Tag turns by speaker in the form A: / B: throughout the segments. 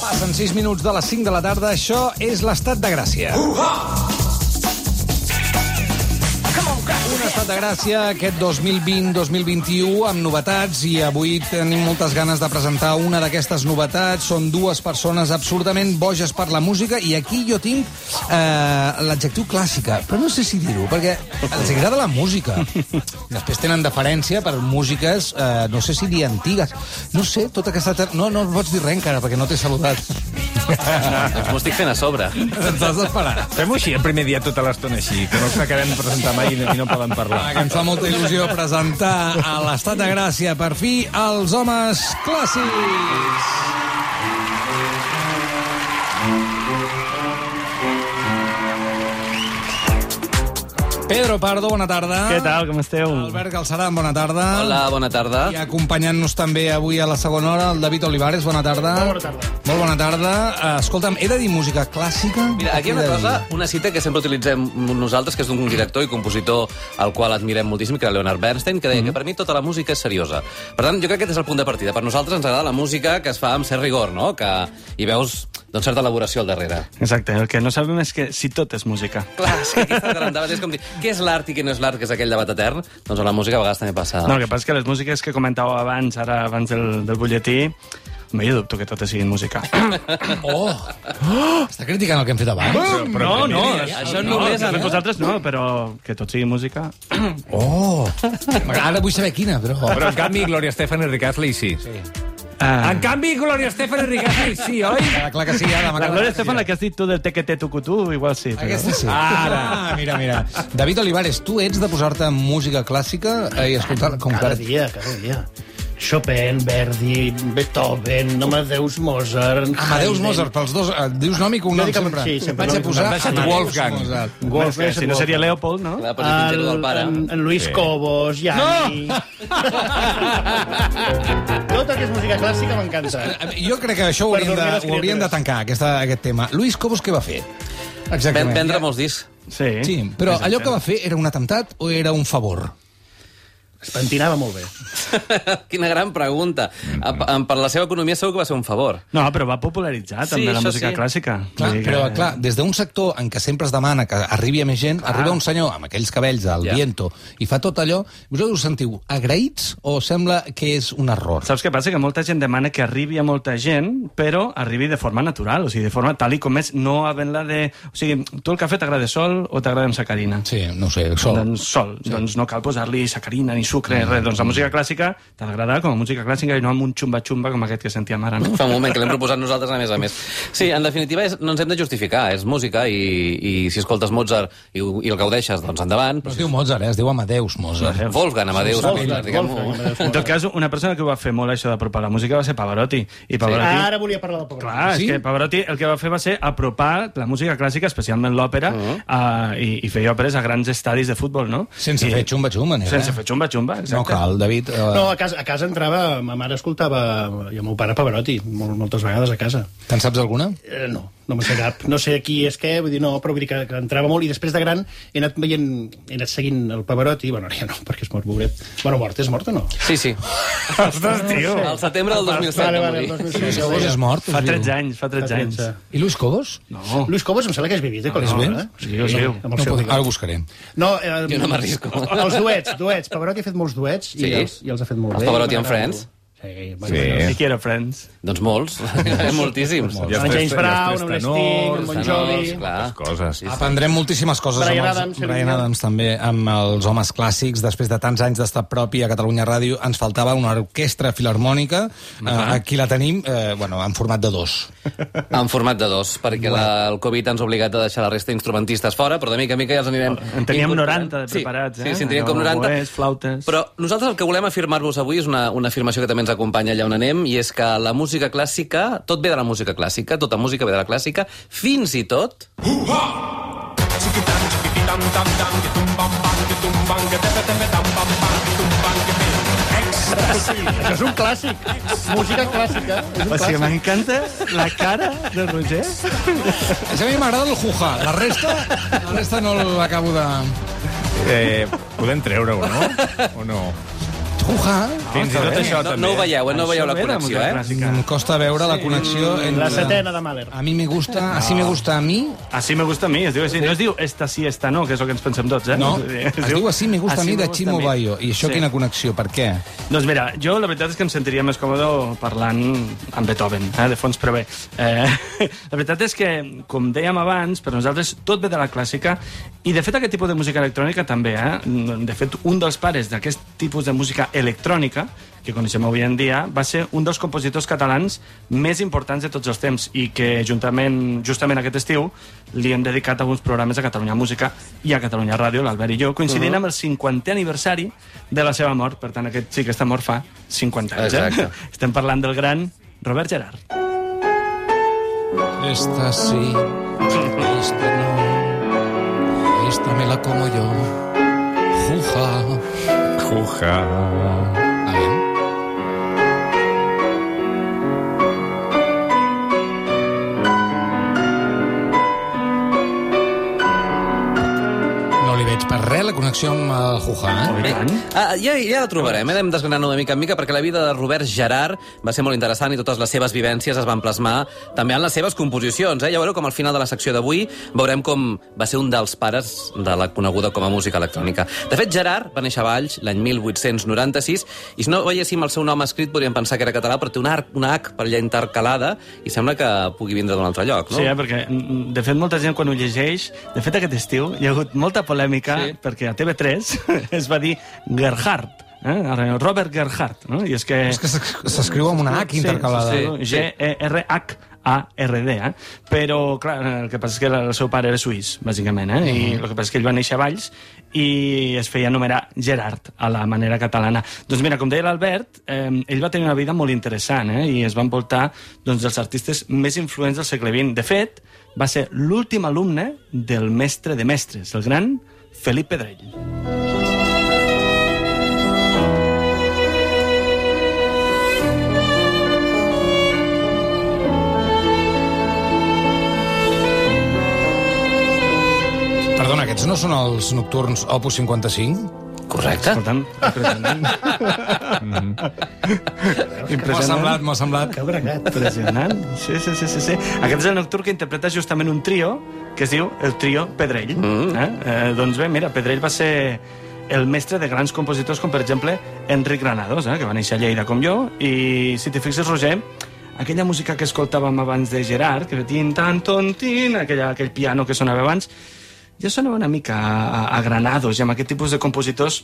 A: passen 6 minuts de les 5 de la tarda. Això és l'estat de Gràcia. Uh -huh. Un estat de Gràcia aquest 2020-2021 amb novetats i avui tenim moltes ganes de presentar una d'aquestes novetats. Són dues persones absolutament boges per la música i aquí jo tinc eh, l'adjectiu clàssica, però no sé si dir-ho, perquè els agrada la música. Després tenen deferència per músiques, eh, no sé si dir antigues. No sé, tota aquesta... ter- No, no pots dir res encara, perquè no t'he saludat.
B: Doncs m'ho estic fent a sobre.
A: T'has d'esperar.
C: Fem-ho així, el primer dia, tota l'estona així, que no ens acabem de presentar mai i no, i no poden
A: Ah,
C: parlar.
A: que ens fa molta il·lusió presentar a l'Estat de Gràcia, per fi, els homes clàssics. Pedro Pardo, bona tarda.
D: Què tal, com esteu?
A: Albert Galceran, bona tarda.
B: Hola, bona tarda.
A: I acompanyant-nos també avui a la segona hora, el David Olivares, bona tarda. Molt bona tarda. Molt bona tarda. Eh, Escolta'm, he de dir música clàssica?
B: Mira, aquí hi
A: He
B: ha una
A: de dir?
B: cosa, una cita que sempre utilitzem nosaltres, que és d'un director i compositor al qual admirem moltíssim, que era Leonard Bernstein, que deia que per mi tota la música és seriosa. Per tant, jo crec que aquest és el punt de partida. Per nosaltres ens agrada la música que es fa amb cert rigor, no? Que hi veus doncs, certa elaboració al darrere.
D: Exacte, el que no sabem és que si tot és música.
B: Clar, és que aquí està el debat, és com dir, què és l'art i què no és l'art, que és aquell debat etern? Doncs a la música a vegades també passa...
D: No, el que passa és que les músiques que comentàveu abans, ara abans del, del butlletí, home, jo dubto que totes siguin música.
A: Oh! oh! Està criticant el que hem fet abans?
C: Però, però,
D: no, no,
B: això
D: no,
B: només
D: no,
B: ara.
D: vosaltres no, però que tot sigui música...
A: Oh! Ara vull saber quina, però...
C: Però en canvi, Gloria Estefan i Ricastley sí. sí.
D: Ah,
C: En canvi, Gloria Estefan i Ricastley sí, oi?
A: Queda clar que sí, Adam.
D: la
A: Estefan...
D: Gloria Estefan, la que has dit tu del tequete tucutú, igual sí. Però...
A: Aquesta sí.
C: Ara.
A: Ah, mira, mira. David Olivares, tu ets de posar-te en música clàssica eh, i escoltar-la com
E: Cada
A: cada...
E: dia, cada dia. Chopin, Verdi, Beethoven, Amadeus Mozart...
A: Amadeus
E: Haydn.
A: Mozart, pels dos... Eh, dius nom i cognom
E: Jo dic amb-
A: sempre.
E: sí, sempre
A: Vaig
E: nom
A: a
E: i
A: posar
E: cognom.
C: Em deixa't
A: Amadeus
C: Wolfgang.
A: Mozart.
D: És que,
E: Wolfgang,
D: si no seria Leopold, no?
B: Clar, pots dir el... del pare.
E: en, en Luis sí. Cobos, Yanni... No! Tot el que és Tota música clàssica m'encanta.
A: Eh, Jo crec que això ho
E: Per
A: hauríem, de,
E: dormir les
A: ho hauríem de
E: criatures.
A: tancar, aquesta, aquest tema. Luis Cobos què va fer?
B: Ven,
A: Exactament.
B: vendre molts discs.
D: Sí.
A: Sí, però allò que va fer era un atemptat o era un favor?
E: Es pentinava molt bé.
B: Quina gran pregunta. A, per la seva economia segur que va ser un favor.
D: No, però va popularitzar
B: Sí,
D: també la
B: això
D: música
B: sí.
D: clàssica.
A: Clar,
D: Vull dir que-
A: però, clar, des d'un sector en què sempre es demana que arribi a més gent, clar. arriba un senyor amb aquells cabells al
B: Ja.
A: yeah. viento i fa tot allò, vosaltres us sentiu agraïts o sembla que és un error?
D: Saps què passa? Que molta gent demana que arribi a molta gent, però arribi de forma natural, o sigui, de forma tal i com és, no havent-la de... O sigui, tu el cafè t'agrada sol o t'agrada amb sacarina?
A: Sí, no ho sé, sol.
D: Doncs sol. Sí. Doncs no cal posar-li sacarina ni sucre, mm. res. Doncs la música clàssica t'ha d'agradar com a música clàssica i no amb un xumba-xumba com aquest que sentíem ara, no?
B: Fa un moment que l'hem proposat nosaltres, a més a més. Sí, en definitiva, és, no ens hem de justificar. És música i, i si escoltes Mozart i, ho- i el gaudeixes, doncs endavant.
A: No es diu Mozart, eh? es diu Amadeus Mozart. Amadeus.
B: Wolfgang Amadeus. Mozart, Doncs diguem-ho.
E: Amadeus
D: En
E: Mozart.
D: tot cas, una persona que ho va fer molt, això d'apropar la música, va ser Pavarotti. I Pavarotti...
E: Ara volia parlar del pobre.
D: Clar,
A: Sí?
D: és que Pavarotti el que va fer va ser apropar la música clàssica, especialment l'òpera, uh -huh. uh, i, i feia òperes a grans estadis de futbol, no?
A: Ah. Sense
D: I,
A: fer xumba-xumba, eh?
D: Sense fer xumba-xumba, exacte.
A: No cal, David. Eh,
E: No,
A: no.
E: a casa, a casa entrava... Ma mare escoltava... I el meu pare Pavarotti, molt, moltes vegades a casa.
A: Te'n saps alguna?
E: Eh, no, no me'n sé cap. No sé qui és què, vull dir, no, però vull dir que, que entrava molt i després de gran he anat veient, he anat seguint el Pavarotti, bueno, ja no, perquè és mort, pobret. Bueno, mort, és mort o no?
B: Sí, sí.
D: Ostres, tio!
B: Al setembre del 2007
E: Vale,
B: va
E: vale, el
B: morir.
E: 2006.
A: Cobos és mort.
D: Fa
A: es diu.
D: 13 anys, fa 13 anys.
A: I Luis Cobos?
D: No.
E: Luis Cobos em sembla que és vivit, eh? quan
A: és
E: és
A: viu?
E: mort, eh?
D: Sí, sí.
E: Amb
A: No
E: el seu
A: puc,
E: bigot.
A: ara ho buscaré.
E: No, eh,
B: Jo no m'arrisco.
E: Els duets, duets. Pavarotti ha fet molts duets
B: Sí.
E: i, els, i els ha fet molt
B: Els
E: bé.
B: Pavarotti
E: I
B: en
E: m'agrada
B: Friends.
E: molt. Sí,
C: Sí.
A: Eh.
E: bueno,
D: I qui era Friends?
B: Doncs molts. Moltíssims.
C: Ja
E: Amb
C: Els tres-
E: James Brown,
C: els
E: amb
C: tres
E: l'Sting, amb
C: tenors,
E: Bon
B: tenors,
E: Jovi...
B: clar.
C: Moltes coses.
B: Sí, sí.
A: Aprendrem moltíssimes coses
E: Brian
A: amb els,
E: Adams, Celine
A: Brian
E: Dion.
A: Adams també, amb els homes clàssics. Després de tants anys d'estar propi a Catalunya Ràdio, ens faltava una orquestra filarmònica. Uh Aquí la tenim, eh, bueno, en format de dos.
B: En format de dos, perquè la, el Covid ens ha obligat a deixar la resta d'instrumentistes fora, però de mica en mica ja els anirem...
D: En teníem
B: incorporant.
D: 90 de preparats,
B: sí,
D: eh?
B: Sí, sí, en teníem com
D: Allò,
B: 90.
D: oboès, flautes.
B: Però nosaltres el que volem afirmar-vos avui és una, una afirmació que també ens acompanya allà on anem, i és que la música clàssica, tot ve de la música clàssica, tota música ve de la clàssica, fins i tot...
E: Això és un clàssic. Música clàssica. És un
D: O sigui,
E: clàssic.
D: m'encanta la cara del Roger.
A: A mi m'agrada el Juja. La resta, la resta no l'acabo de...
C: Eh, podem treure-ho, no? O no?
A: Jujar.
C: Fins i tot això,
B: No,
C: també.
B: no ho veieu, eh? no veieu la
D: Això ve de
B: connexió,
D: música
B: eh?
D: clàssica.
A: Em costa veure la connexió entre...
E: La setena de Mahler.
A: A mi me gusta, así me gusta a mi,
D: Así me gusta a mi, es diu així. No es diu esta sí, esta no, que és el que ens pensem tots, eh?
A: no?
D: Es diu-
A: Es diu Así me gusta a mi de
D: gusta
A: Chimo
D: mi.
A: Bayo. I això
D: Sí.
A: quina connexió, per què?
D: Doncs mira, jo la veritat és que em sentiria més còmode parlant amb Beethoven, eh, de fons, però bé. Eh, la veritat és que, com dèiem abans, per nosaltres tot ve de la clàssica i, de fet, aquest tipus de música electrònica també. Eh? De fet, un dels pares d'aquest tipus de música electrònica que coneixem avui en dia, va ser un dels compositors catalans més importants de tots els temps i que juntament, justament aquest estiu li hem dedicat alguns programes a Catalunya Música i a Catalunya Ràdio, l'Albert i jo, coincidint amb el 50è aniversari de la seva mort. Per tant, aquest sí que està mort fa 50 anys. Eh?
B: Exacte.
D: Estem parlant del gran Robert Gerard.
A: Esta sí, esta no, esta me la como yo. Juja.
C: Juja.
A: A ver. No li veig per res la connexió amb el Juja, eh?
D: Oh, i tant.
B: Ah, ja, ja la trobarem, eh? anem desgranant-ho de mica en mica, perquè la vida de Robert Gerard va ser molt interessant i totes les seves vivències es van plasmar també en les seves composicions. Eh? Ja veureu com al final de la secció d'avui veurem com va ser un dels pares de la coneguda com a música electrònica. De fet, Gerard va néixer a Valls l'any 1896 i si no veiéssim el seu nom escrit podríem pensar que era català, però té una, arc- una H per allà intercalada i sembla que pugui vindre d'un altre lloc, no?
D: Sí, eh, perquè, mm, de fet, molta gent quan ho llegeix... De fet, aquest estiu hi ha hagut molta polèmica sí.
B: Sí.
D: perquè a TV3 es va dir Gerhard, eh? Robert Gerhard, no? I és que...
A: És que s'es- s'escriu amb una H intercalada.
D: Sí, E sí, sí. G-E-R-H A-R-D, eh? Però, clar, el que passa és que el seu pare era suís, bàsicament, eh? I
A: Mm.
D: el que passa és que ell va néixer a Valls i es feia anomenar Gerard, a la manera catalana. Doncs mira, com deia l'Albert, eh, ell va tenir una vida molt interessant, eh? I es va envoltar doncs, dels artistes més influents del segle XX. De fet, va ser l'últim alumne del mestre de mestres, el gran Felip Pedrell.
A: Perdona, aquests no són els nocturns Opus 55?
B: Correcte.
D: Escolta'm, impressionant.
A: M'ha semblat, m'ha semblat.
E: Déu gregat.
D: Impressionant. Sí, sí, sí, sí, sí. Aquest és el nocturn que interpreta justament un trio que es diu el trio Pedrell. Mm. Eh? Eh, doncs bé, mira, Pedrell va ser el mestre de grans compositors com, per exemple, Enric Granados, eh? que va néixer a Lleida com jo, i si t'hi fixes, Roger, aquella música que escoltàvem abans de Gerard, que tin, tan, ton, tin, aquella, aquell piano que sonava abans, ja sonava una mica a, a, a Granados i amb aquest tipus de compositors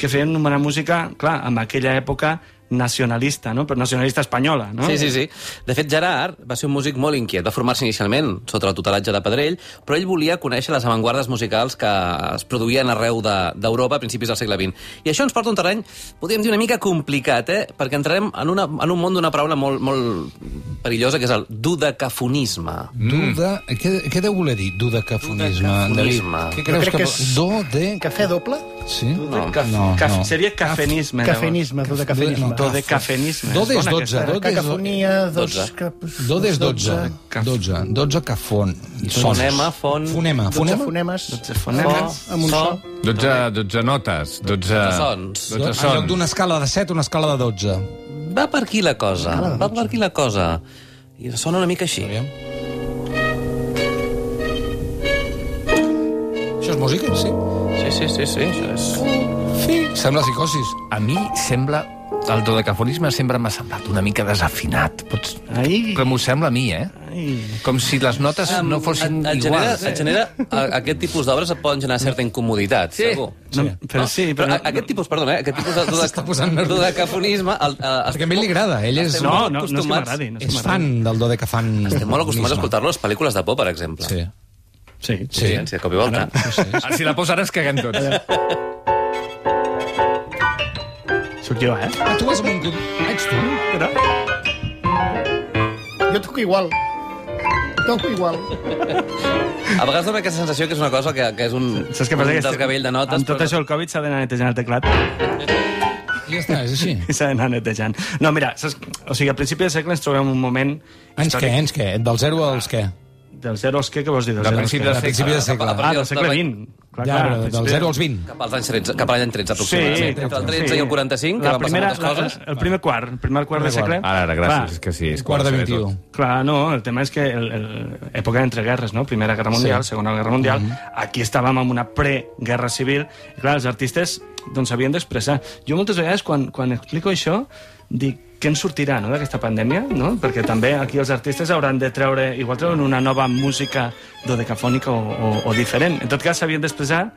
D: que feien una música, clar, en aquella època nacionalista, no? però nacionalista espanyola.
E: Ah,
D: No?
B: Sí, sí, sí. De fet, Gerard va ser un músic molt inquiet. Va formar-se inicialment sota el tutelatge de Pedrell, però ell volia conèixer les avantguardes musicals que es produïen arreu de- d'Europa de, a principis del segle XX. I això ens porta a un terreny, podríem dir, una mica complicat, eh? perquè entrarem en, una, en un món d'una paraula molt, molt perillosa, que és el dudecafonisme.
A: Duda... Què, què deu voler dir, dudecafonisme, David?
B: Dudecafonisme.
A: Què
E: Jo
A: creus
E: crec
A: que...
E: que
A: vol-
E: és-
A: Do, de...
E: Cafè doble?
A: Sí?
B: No.
D: Caf,
A: No,
D: caf,
A: no.
D: Seria cafenisme. llavors.
E: Cafenisme, tot de cafenisme.
A: No,
D: Do de cafenisme.
A: Do des
D: És bona
A: 12,
D: aquesta.
A: do des
E: Cacafonia, dos...
B: Dotze.
E: Cap...
A: Do des 12.
D: Caf-
A: 12. 12 cafon. Sons.
B: Fonema, fon...
A: Fonema.
E: Dotze
A: Fonema?
E: fonemes.
D: Dotze fonemes.
E: Amb un so.
C: 12, 12 notes. 12...
B: sons.
A: En
C: 12
A: lloc
C: sons.
A: d'una escala de 7, una escala de 12.
B: Va per aquí la cosa, va per aquí la cosa. I sona una mica així.
A: Aviam. Això és música, sí.
B: Sí, sí, sí, sí. Això és...
A: Sí. Sembla psicosis.
F: A mi sembla... El dodecafonisme sempre m'ha semblat una mica desafinat. Pots...
D: Ai,
F: Que m'ho sembla a mi, eh?
D: ai.
F: Com si les notes no fossin
B: et, et genera,
F: iguals.
D: eh?
B: Et genera, a- aquest tipus d'obres et poden generar certa incomoditat, sí. segur.
D: No, però sí, però...
B: a- aquest tipus, perdona, eh, aquest tipus de,
A: S'està posant
B: de,
A: nerviós.
B: de cafonisme... El, eh, el,
A: Perquè a ell li agrada. Ell és,
D: No, no, no és que
B: acostumats-
D: m'agradi. No és que
A: és
D: m'agradi.
A: fan del dodecafan.
B: Estem molt acostumats a escoltar-lo a les pel·lícules de por, per exemple.
A: Sí.
D: Sí.
A: Sí.
B: Sí, de cop i volta.
C: Ah, si la posa ara es caguen tots.
D: Sóc jo, eh?
A: Ah, tu vas amb un... cul- Ah, Ets tu?
D: Però...
E: Jo toco igual. Toco igual.
B: A vegades dona aquesta sensació que és una cosa que, que és un,
D: Saps què
B: un
D: passa? Que
B: desgavell de notes.
D: Amb tot
B: però-
D: això, el Covid s'ha d'anar netejant el teclat.
A: Ja està, és així.
D: I s'ha d'anar netejant. No, mira, saps... o sigui, al principi del segle ens trobem un moment...
A: Anys què, anys què? Del 0 als què?
D: Del zero als què, què vols dir? Del
C: De
D: zero als
C: principi
D: què?
C: de
A: A
C: segle.
A: principi de segle.
B: Ah,
D: Ah, del segle
B: de-
D: XX. Clar,
A: Ja, però del
D: Shakespeare-
A: 0 als 20.
B: Cap, als anys 13, cap a l'any 13, aproximadament. Entre el 13 i el 45, que
D: La
B: van passar
D: primera-
B: moltes coses.
D: La, el primer quart, el primer quart de
A: Primer
D: segle.
A: quart.
C: Ara, ara, gràcies.
D: Clar,
C: és que sí, és
A: Quart de
C: quan ho sabé
A: 21.
C: tot.
D: Clar, no, el tema és que el, el, època entre guerres, no? Primera Guerra Mundial, sí. Segona Guerra Mundial, mm -hmm. aquí estàvem en una preguerra civil, i clar, els artistes doncs s'havien d'expressar. Jo moltes vegades, quan, quan explico això, dic què en sortirà no, d'aquesta pandèmia, no? perquè també aquí els artistes hauran de treure, igual treuen una nova música dodecafònica o, o, o diferent. En tot cas, s'havien d'expressar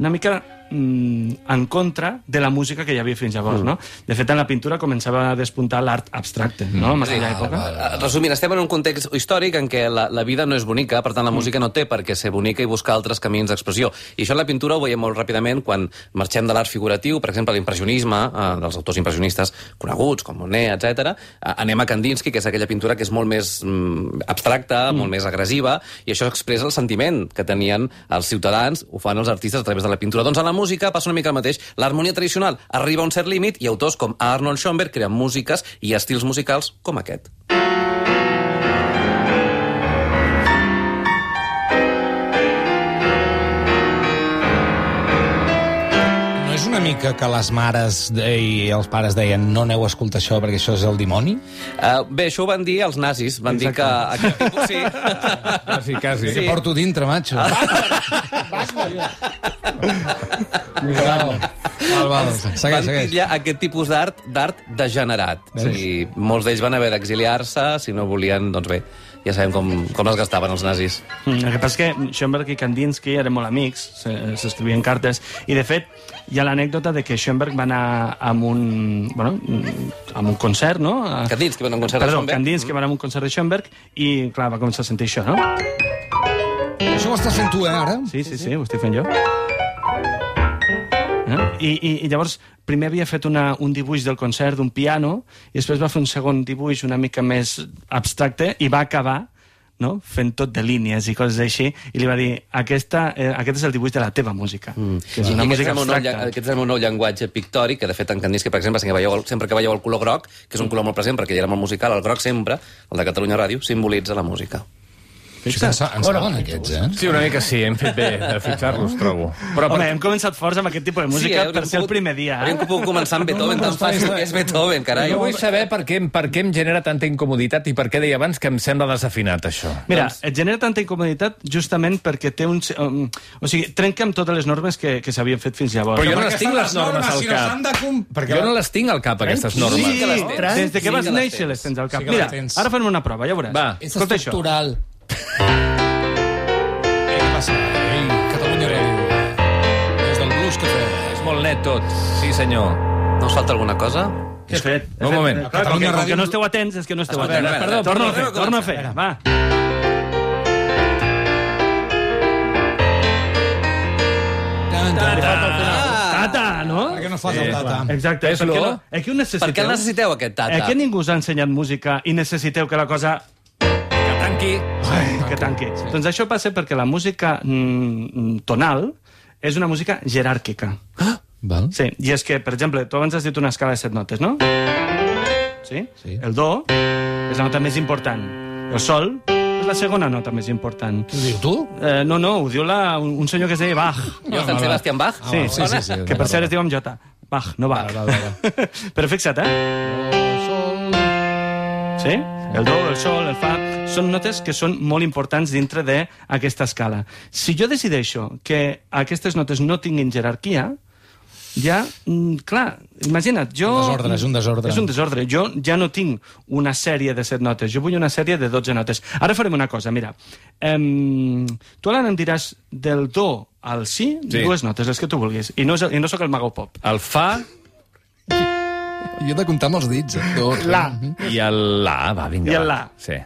D: una mica mm, en contra de la música que hi havia fins llavors. Mm. No? De fet, en la pintura començava a despuntar l'art abstracte, no? en aquella època.
B: Eh, Resumint, estem en un context històric en què la, la vida no és bonica, per tant la música no té per què ser bonica i buscar altres camins d'expressió. I això en la pintura ho veiem molt ràpidament quan marxem de l'art figuratiu, per exemple l'impressionisme, eh, dels autors impressionistes coneguts, com Monet, etc. Eh, anem a Kandinsky, que és aquella pintura que és molt més mm, abstracta, mm. molt més agressiva, i això expressa el sentiment que tenien els ciutadans, ho fan els artistes a través de la pintura. Doncs a la música passa una mica el mateix. L'harmonia tradicional arriba a un cert límit i autors com Arnold Schoenberg creen músiques i estils musicals com aquest.
A: No és una mica que les mares de- i els pares deien no aneu a escoltar això perquè això és el dimoni?
B: Uh, bé, això ho van dir els nazis. Van Exacte. dir que... Aquest tipus, sí.
C: Quasi, quasi.
A: Sí. Porto dintre, macho. Val, val, val. Segueix,
B: van
A: segueix.
B: titllar aquest tipus d'art d'art degenerat. Sí. I molts d'ells van haver d'exiliar-se, si no volien, doncs bé, ja sabem com, com es gastaven els nazis.
D: Mm, El que passa és que Schoenberg i Kandinsky eren molt amics, se- s'escrivien cartes, i de fet hi ha l'anècdota de que Schoenberg va anar a un, bueno, a un concert, no? A-
B: Kandinsky va anar a un concert de
D: Perdó,
B: Schoenberg.
D: Kandinsky va anar a un concert de Schoenberg i, clar, va començar a sentir això, no?
A: Això ho estàs fent tu, eh, ara?
D: Sí, sí, sí, ho estic fent jo. Eh? I, i, I llavors, primer havia fet una, un dibuix del concert d'un piano, i després va fer un segon dibuix una mica més abstracte, i va acabar no? fent tot de línies i coses així, i li va dir, Aquesta, eh, aquest és el dibuix de la teva música. Mm. Que és
B: I
D: una
B: aquest,
D: música
B: és el meu nou,
D: abstracta.
B: llen- aquest és el meu nou llenguatge pictòric, que de fet en Kandinsky, per exemple, sempre que, veieu, el- sempre que veieu el color groc, que és un color molt present perquè ja era molt musical, el groc sempre, el de Catalunya Ràdio, simbolitza la música.
A: Fixa't. Ens, ens bueno, aquests, eh?
C: Sí, una mica sí, hem fet bé de fixar-los, trobo.
D: Però per... Home, hem començat forts amb aquest tipus de música sí,
B: hauríem
D: eh? per ser el
B: pogut-
D: primer dia.
B: Hauríem
D: Eh?
B: pogut començar amb Beethoven, tan fàcil que és Beethoven, carai.
F: Jo vull saber per què, per què em genera tanta incomoditat i per què deia abans que em sembla desafinat, això.
D: Mira,
B: doncs-
D: et genera tanta incomoditat justament perquè té un... Um, o sigui, trenca amb totes les normes que, que s'havien fet fins llavors.
F: Però jo no
A: Perquè
F: les tinc,
A: estan
F: les normes, al
A: si no s'han
F: cap.
A: de com- Perquè
F: Jo no les tinc al cap, aquestes normes.
B: Sí que les tens.
E: Tranqui.
D: Des de que
B: Sí
D: vas
B: que les
D: néixer les tens al cap.
A: Sí que les
D: Mira,
A: tens.
D: ara farem una prova, ja veuràs.
F: Va.
A: És
D: escolta això.
A: estructural. Eh, Què passa? Ei, Catalunya Ràdio. Des del blues que fem.
F: És molt net tot. Sí, senyor.
B: No us falta alguna cosa?
D: Què he fet?
F: Un moment.
D: Clar, com, que,
A: Catalunya
D: com que
A: Ràdio-
D: no esteu atents, és que no esteu
B: Escolta,
D: atents.
B: a veure, a veure,
D: torna a fer,
B: torna a
D: torna a fer.
B: començar.
D: Va.
A: Tan, tan, tan.
D: Ah. Tata, no?
A: Per què no fas el tata?
D: Exacte.
F: És
D: per què
F: lo-
D: no? Eh, què ho necessiteu?
B: Per què el necessiteu, aquest tata?
D: Eh, que ningú us ha ensenyat música i necessiteu que la cosa
F: Que tanqui.
D: que tanqui. Doncs això passa perquè la música mm, tonal és una música jeràrquica.
A: Val.
D: Sí, i és que, per exemple, tu abans has dit una escala de set notes, no? Sí?
A: Sí.
D: El do és la nota més important. El sol és la segona nota més important.
A: Ho diu tu?
D: Eh, no, no, ho diu la, un, un senyor que es deia Bach.
B: Jo, Sant Sebastián Bach?
D: Sí,
A: val,
D: sí, sí, sí, que per cert es diu amb J. Bach, no Bach.
A: Val, val, val,
D: Però fixa't, eh? Sí? El do, el sol, el fa... Són notes que són molt importants dintre d'aquesta escala. Si jo decideixo que aquestes notes no tinguin jerarquia, ja, mm, clar, imagina't, jo...
A: Un desordre, és un desordre.
D: És un desordre. Jo ja no tinc una sèrie de set notes, jo vull una sèrie de 12 notes. Ara farem una cosa, mira. Um, tu, Alan, em diràs del do al si,
F: Sí.
D: sí. dues notes, les que tu vulguis. I no, és, i no sóc el mago pop.
F: El fa
A: Jo he de comptar amb els dits. Eh? Dos.
E: La.
F: i el la. Va, vinga.
D: I el
F: va.
D: la.
F: Sí.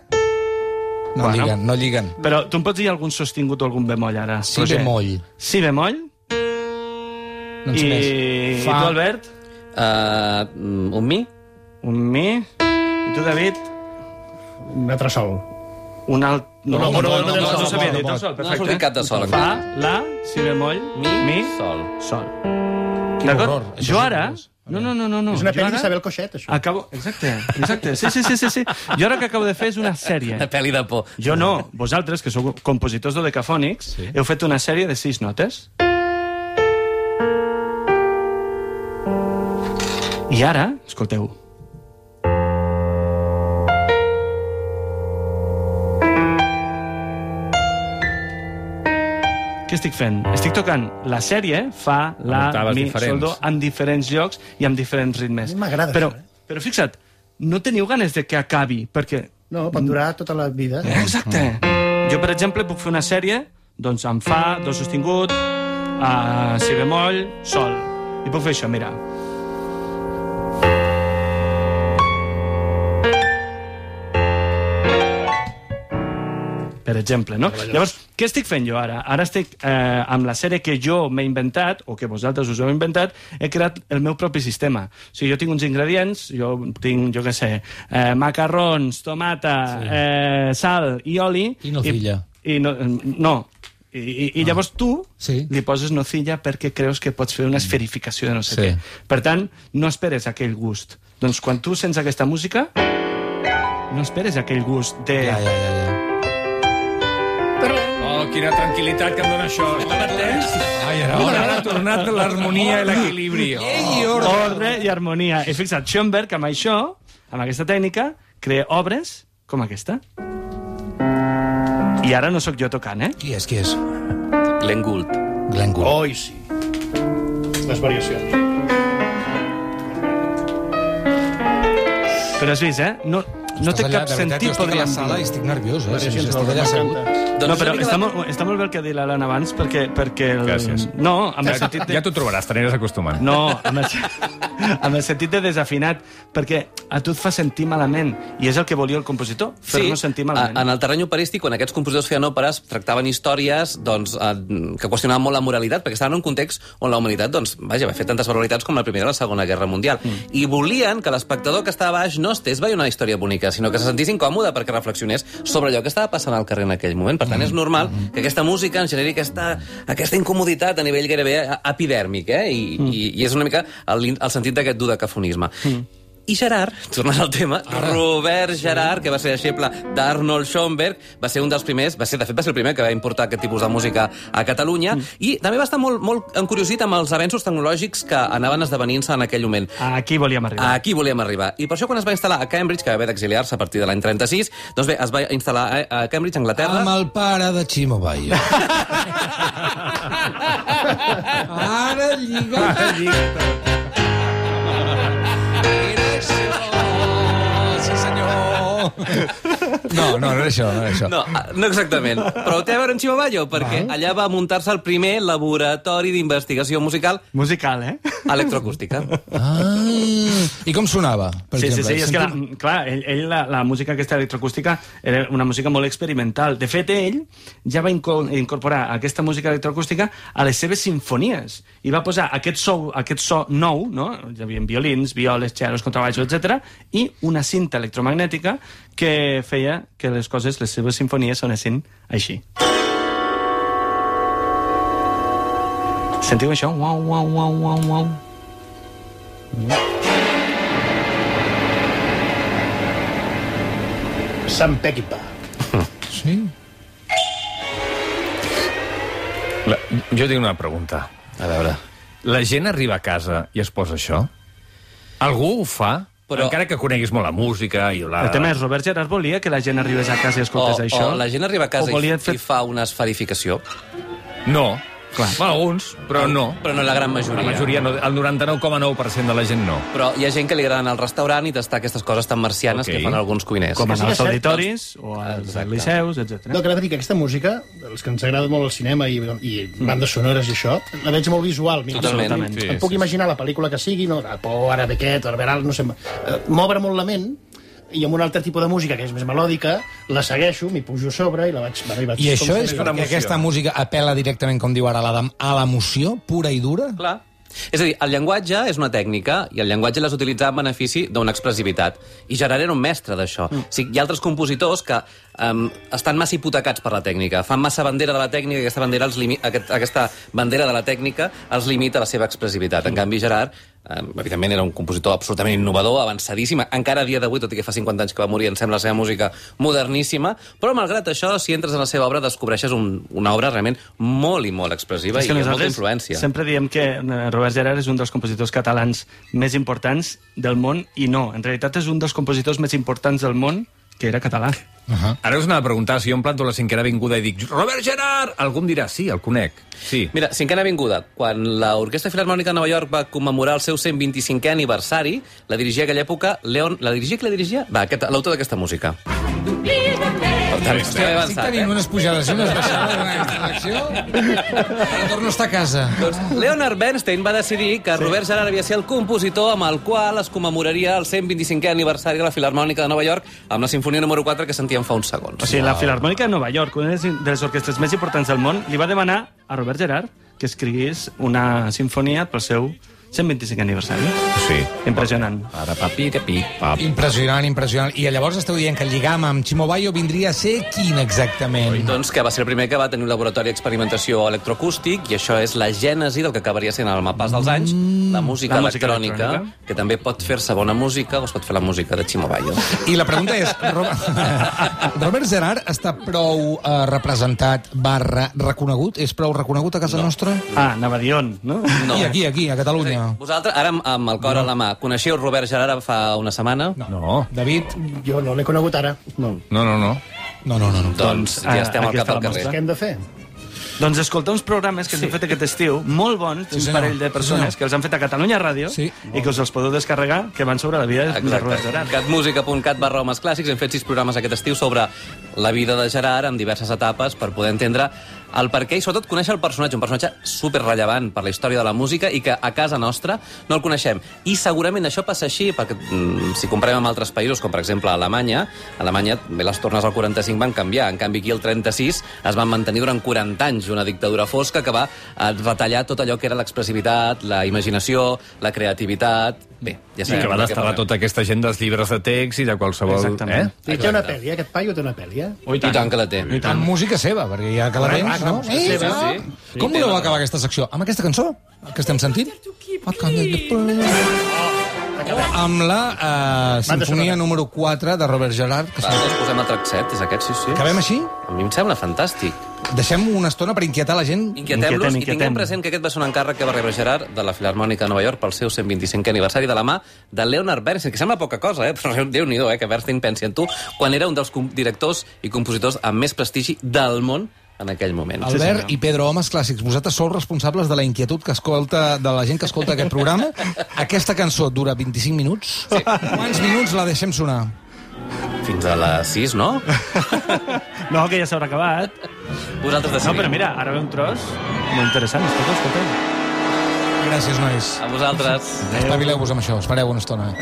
A: No
D: Bueno.
A: lliguen, no lliguen.
D: Però tu em pots dir algun sostingut o algun bemoll, ara?
A: Si
D: Roger?
A: bemoll.
D: Si bemoll.
A: No ens Doncs
D: I...
A: més.
D: I
A: Fa.
D: tu, Albert?
B: Uh, un mi?
D: Un mi. I tu, David?
E: Un altre sol.
D: Un alt...
E: No, no, no, no, no,
D: no,
E: no,
D: s'havia
A: no,
D: dit,
A: no,
D: el
B: No
D: sol,
B: ha
D: perfecte.
B: sortit cap de sol,
D: Fa,
B: encara.
D: la, si bemoll,
B: Mi,
D: mi,
B: sol.
D: sol.
A: horror,
D: D'acord?
A: això
D: Jo
A: és
D: ara...
A: horrorós.
D: No, no, no, no, no.
E: És una
D: Jo
E: pel·li
D: ara
E: d'Isabel Coixet, això.
D: Acabo... Exacte, exacte. Sí, sí, sí, sí, sí. Jo ara el que acabo de fer és una sèrie.
B: Una pel·li de por.
D: Jo no. Vosaltres, que sou compositors dodecafònics, sí. heu fet una sèrie de sis notes. I ara, escolteu, Què estic fent? Estic tocant la sèrie, fa, la,
C: Octaves
D: mi,
C: diferents.
D: sol, do, en diferents llocs i amb diferents ritmes.
E: A mi m'agrada
D: Però,
E: això, eh?
D: però fixa't, no teniu ganes de que acabi, perquè...
E: No, pot durar tota la vida.
D: Eh? Exacte. Mm. Jo, per exemple, puc fer una sèrie doncs amb fa, do sostingut, a si bemoll, sol. I puc fer això, mira. per exemple, no? Llavors, què estic fent jo ara? Ara estic eh, amb la sèrie que jo m'he inventat, o que vosaltres us heu inventat, he creat el meu propi sistema. O sigui, jo tinc uns ingredients, jo tinc, jo què sé, eh, macarrons, tomata, sí. eh, sal i oli...
A: I nocilla.
D: I, i no, no, i, i, i llavors tu
A: Sí. Mm.
D: li poses nocilla perquè creus que pots fer una esferificació de no sé
A: Sí.
D: sí. què. Per tant, no esperes aquell gust. Doncs quan tu sents aquesta música, no esperes aquell gust de...
A: Ja, ja, ja, ja.
C: Oh, quina tranquil·litat que em dona això. Ai, ara, ara ha tornat l'harmonia i l'equilibri. Oh.
A: I ordre.
D: ordre i harmonia. I fixa't, Schoenberg, amb això, amb aquesta tècnica, crea obres com aquesta. I ara no sóc jo tocant, eh?
A: Qui és, qui és?
B: Glenn Gould.
A: Glenn Gould.
E: Oh, i sí. Les variacions.
D: Però has vist, eh? No, no té cap sentit,
A: jo estic a la
D: podríem
A: sala i
D: dir.
A: estic nerviós, eh? Sí,
E: Variacions
A: estic
E: del
A: allà segut.
E: rock.
B: Doncs
D: No, però
B: una mica
D: està
B: de-
D: molt, està molt bé el que ha dit l'Alan abans, perquè... perquè el...
C: Gràcies.
D: No, amb el
C: Ja,
D: sentit... De...
C: ja t'ho trobaràs, t'aniràs acostumant.
D: No, amb el, amb el sentit de desafinat, perquè a tu et fa sentir malament, i és el que volia el compositor, fer-nos sentir malament.
B: a- En el terreny operístic, quan aquests compositors feien òperes, tractaven històries doncs, eh, que qüestionaven molt la moralitat, perquè estaven en un context on la humanitat doncs, vaja, va fer tantes barbaritats com la Primera i la Segona Guerra Mundial. Mm. I volien que l'espectador que estava a baix no estés veient una història bonica, sinó que se sentís incòmode perquè reflexionés sobre allò que estava passant al carrer en aquell moment. Per tant, és normal que aquesta música ens generi aquesta, aquesta incomoditat a nivell gairebé a- epidèrmic, eh? I, mm. i, i és una mica el, el sentit d'aquest dodecafonisme. Mm. I Gerard, tornant al tema, Ara. Robert Gerard, que va ser deixeble d'Arnold Schoenberg, va ser un dels primers, va ser, de fet, va ser el primer que va importar aquest tipus de música a Catalunya, mm. i també va estar molt, molt encuriosit amb els avenços tecnològics que anaven esdevenint-se en aquell moment.
D: Aquí volíem arribar.
B: Aquí volíem arribar. I per això quan es va instal·lar a Cambridge, que va haver d'exiliar-se a partir de l'any 36, doncs bé, es va instal·lar a- a Cambridge, Anglaterra.
A: Amb el pare de Chimo Bayo. Ara lliga. Era això, sí senyor.
C: No, no, no era això, no era això.
B: No, ah, no exactament. Però té a veure amb Chimaballo, perquè allà va muntar-se el primer laboratori d'investigació musical
D: Musical, eh?
B: electroacústica.
A: Ah, I com sonava, per
D: sí,
A: exemple?
D: Sí, sí, és que la,
A: Sentim-
D: clar, ell, ell la, la música aquesta electroacústica era una música molt experimental. De fet, ell ja va inco- incorporar aquesta música electroacústica a les seves sinfonies i va posar aquest so, aquest so nou, no? Hi havia violins, violes, xeros, contrabaixos, etc i una cinta electromagnètica que feia que les coses, les seves sinfonies, sonessin així. Sentiu això? Uau, uau, uau, uau, uau.
E: Sam Peckinpah.
A: Sí?
C: La, jo tinc una pregunta.
B: A veure...
C: La gent arriba a casa i es posa això? Algú ho fa?
B: Però-
C: Però... Encara que coneguis molt la música i la...
D: El tema és, Robert Gerard volia que la gent arribés a casa i escoltés
B: o,
D: això.
B: O la gent arriba a casa
D: O
B: i,
D: volia
B: fer...
D: fer...
B: i fa una esferificació,
C: No. Clar. Alguns, però no.
B: però no la gran majoria.
C: La majoria, no, el 99,9% de la gent no.
B: Però hi ha gent que li agraden al restaurant i tastar aquestes coses tan marcianes
C: Ok.
B: que fan alguns cuiners.
D: Com
E: que
D: en
E: sí que
D: els
E: és cert,
D: auditoris, o als
B: Exacte.
D: liceus, etc.
E: No, que anava a dir que aquesta música, els que ens agrada molt el cinema i, i bandes sonores i això, la veig molt visual. Mira,
B: Totalment.
D: Absolutament.
C: Sí,
E: em
C: sí,
E: puc imaginar la pel·lícula que sigui, no? La por, ara ve aquest, ara verà, no sé... eh, M'obre molt la ment, i amb un altre tipus de música que és més melòdica, la segueixo, m'hi pujo a sobre i la vaig... I, vaig
A: I això és
E: una...
A: perquè aquesta música apela directament, com diu ara l'Adam, a l'emoció pura i dura?
B: Clar. És a dir, el llenguatge és una tècnica i el llenguatge l'has utilitzat en benefici d'una expressivitat. I Gerard era un mestre d'això. Mm. O sigui, hi ha altres compositors que um, estan massa hipotecats per la tècnica, fan massa bandera de la tècnica i aquesta bandera, els limi... aquest, aquesta bandera de la tècnica els limita la seva expressivitat. En canvi, Gerard eh, evidentment era un compositor absolutament innovador, avançadíssim, encara a dia d'avui, tot i que fa 50 anys que va morir, em sembla la seva música moderníssima, però malgrat això, si entres en la seva obra, descobreixes un, una obra realment molt i molt expressiva i amb molta influència.
D: sempre diem que eh, Robert Gerard és un dels compositors catalans més importants del món, i no, en realitat és un dels compositors més importants del món que era català.
F: Ara us anava a preguntar si jo em planto a la cinquena avinguda i dic Robert Gerard! Algú em dirà, sí, el conec. Sí.
B: Mira, cinquena avinguda. Quan l'Orquestra Filarmònica de Nova York va commemorar el seu 125è aniversari, la dirigia aquella època Leon... La dirigia qui la dirigia? Va, aquest- l'autor d'aquesta música. Per tant, estic
A: Estic
B: avançat, eh?
A: tenint unes pujades i unes baixades en aquesta elecció. Ara torno a estar a casa.
B: Doncs Leonard Bernstein va decidir que Robert Gerard havia de ser el compositor amb el qual es commemoraria el 125è aniversari de la Filarmònica de Nova York amb la Sinfonia número 4 que sentíem fa uns segons.
D: O sigui, la Filarmònica de Nova York, una de les orquestres més importants del món, li va demanar a Robert Gerard que escrigués una sinfonia pel seu 125 aniversari.
F: Sí.
D: Impressionant.
F: Ara papi, de pi, pap.
A: Impressionant, impressionant. I llavors esteu dient que el lligam amb Chimobayo vindria a ser quin exactament?
B: Doncs que va ser el primer que va tenir un laboratori d'experimentació electroacústic i això és la gènesi del que acabaria sent amb el pas dels anys la música,
D: La
B: la
D: música
B: música electrònica,
D: electrònica.
B: que també pot fer-se bona música o es pot fer la música de Chimo Bayo.
A: I la pregunta és, Robert, Robert Gerard està prou eh, representat barra reconegut? És prou reconegut a casa no. nostra?
D: Ah, anava a dir on, no?
B: No.
A: I aquí, aquí, a Catalunya.
B: Vosaltres, ara amb- amb el cor a la mà, coneixeu Robert Gerard fa una setmana? No.
C: Oh.
F: No,
A: David?
E: Jo no l'he conegut ara. No.
F: no, no, no.
A: No, no, no. no.
B: Doncs ja
D: Ah,
B: estem al
D: aquí
B: cap
D: està
B: del
D: la
B: carrer.
D: mostra.
E: Què hem de fer?
D: Doncs escoltar uns programes que ens sí. han fet aquest estiu, molt bons, d'un
A: Sí,
D: sí,
A: senyor.
D: parell de
A: Sí,
D: persones
A: senyor.
D: que els han fet a Catalunya Ràdio
A: Sí.
D: i que us els podeu descarregar, que van sobre la vida de Robert
B: Exacte.
D: Gerard.
B: Catmusica.cat barra homes clàssics. Hem fet sis programes aquest estiu sobre la vida de Gerard en diverses etapes per poder entendre el per què i sobretot conèixer el personatge, un personatge super rellevant per la història de la música i que a casa nostra no el coneixem. I segurament això passa així perquè mm, si comparem amb altres països, com per exemple a Alemanya, a Alemanya bé, les tornes al 45 van canviar, en canvi aquí el 36 es van mantenir durant 40 anys una dictadura fosca que va eh, retallar tot allò que era l'expressivitat, la imaginació, la creativitat... Bé, ja
F: Sí,
B: sabem.
F: que va
B: de què
F: destalar
B: parlem.
F: tota aquesta gent dels llibres de text i de qualsevol...
D: Exactament.
F: Eh?
E: I té una pel·li, eh? aquest paio té una pel·li, eh?
D: Oh,
B: I tant. I tant que la té.
A: Amb música seva, perquè ja que la tens, no? Sí, sí, sí. Com voleu acabar aquesta secció? Amb aquesta cançó que estem sentint? Amb la eh, sinfonia número 4 de Robert Gerard. Que
B: Va, doncs posem el track 7, és aquest, sí, sí.
A: Acabem així?
B: A mi em sembla fantàstic.
A: Deixem una estona per inquietar la gent?
B: Inquietem-los
D: Inquietem,
B: i tinguem
D: inquietem.
B: present que aquest va ser un encàrrec que va rebre Gerard de la Filarmònica de Nova York pel seu 125è aniversari de la mà de Leonard Bernstein, que sembla poca cosa, eh? però déu-n'hi-do, eh? que Bernstein pensi en tu, quan era un dels com- directors i compositors amb més prestigi del món en aquell moment.
A: Albert i Pedro Homes Clàssics, vosaltres sou responsables de la inquietud que escolta, de la gent que escolta aquest programa. Aquesta cançó dura 25 minuts. Sí. Quants minuts la deixem sonar?
B: Fins a les 6, no?
D: No, que ja s'haurà acabat.
B: Vosaltres decidiu.
D: No, però mira, ara ve un tros molt interessant. Escolta, escolta.
A: Gràcies, nois.
B: A vosaltres.
A: Espavileu-vos amb això, espereu una estona.